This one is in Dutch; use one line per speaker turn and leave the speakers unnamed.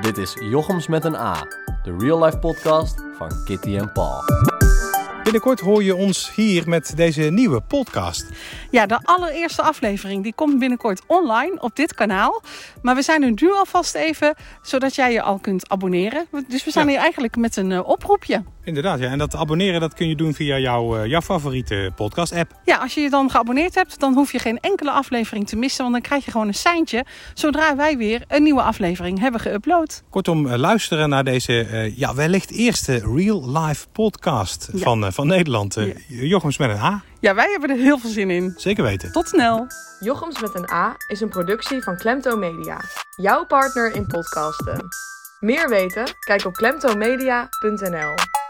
Dit is Jochems met een A, de real life podcast van Kitty en Paul.
Binnenkort hoor je ons hier met deze nieuwe podcast.
Ja, de allereerste aflevering die komt binnenkort online op dit kanaal. Maar we zijn er nu alvast even, zodat jij je al kunt abonneren. Dus we zijn hier eigenlijk met een eh, oproepje.
Inderdaad, ja. En dat abonneren dat kun je doen via jouw, eh, jouw favoriete podcast-app.
Ja, als je je dan geabonneerd hebt, dan hoef je geen enkele aflevering te missen. Want dan krijg je gewoon een seintje zodra wij weer een nieuwe aflevering hebben geüpload.
Kortom, eh, luisteren naar deze eh, ja, wellicht eerste real-life podcast
Ja.
van, eh, van Nederland. Eh, Jochems met een A,
Ja, wij hebben er heel veel zin in.
zeker weten.
Tot snel!
Jochems met een A is een productie van Klemto Media, jouw partner in podcasten. Meer weten? Kijk op klemtomedia.nl.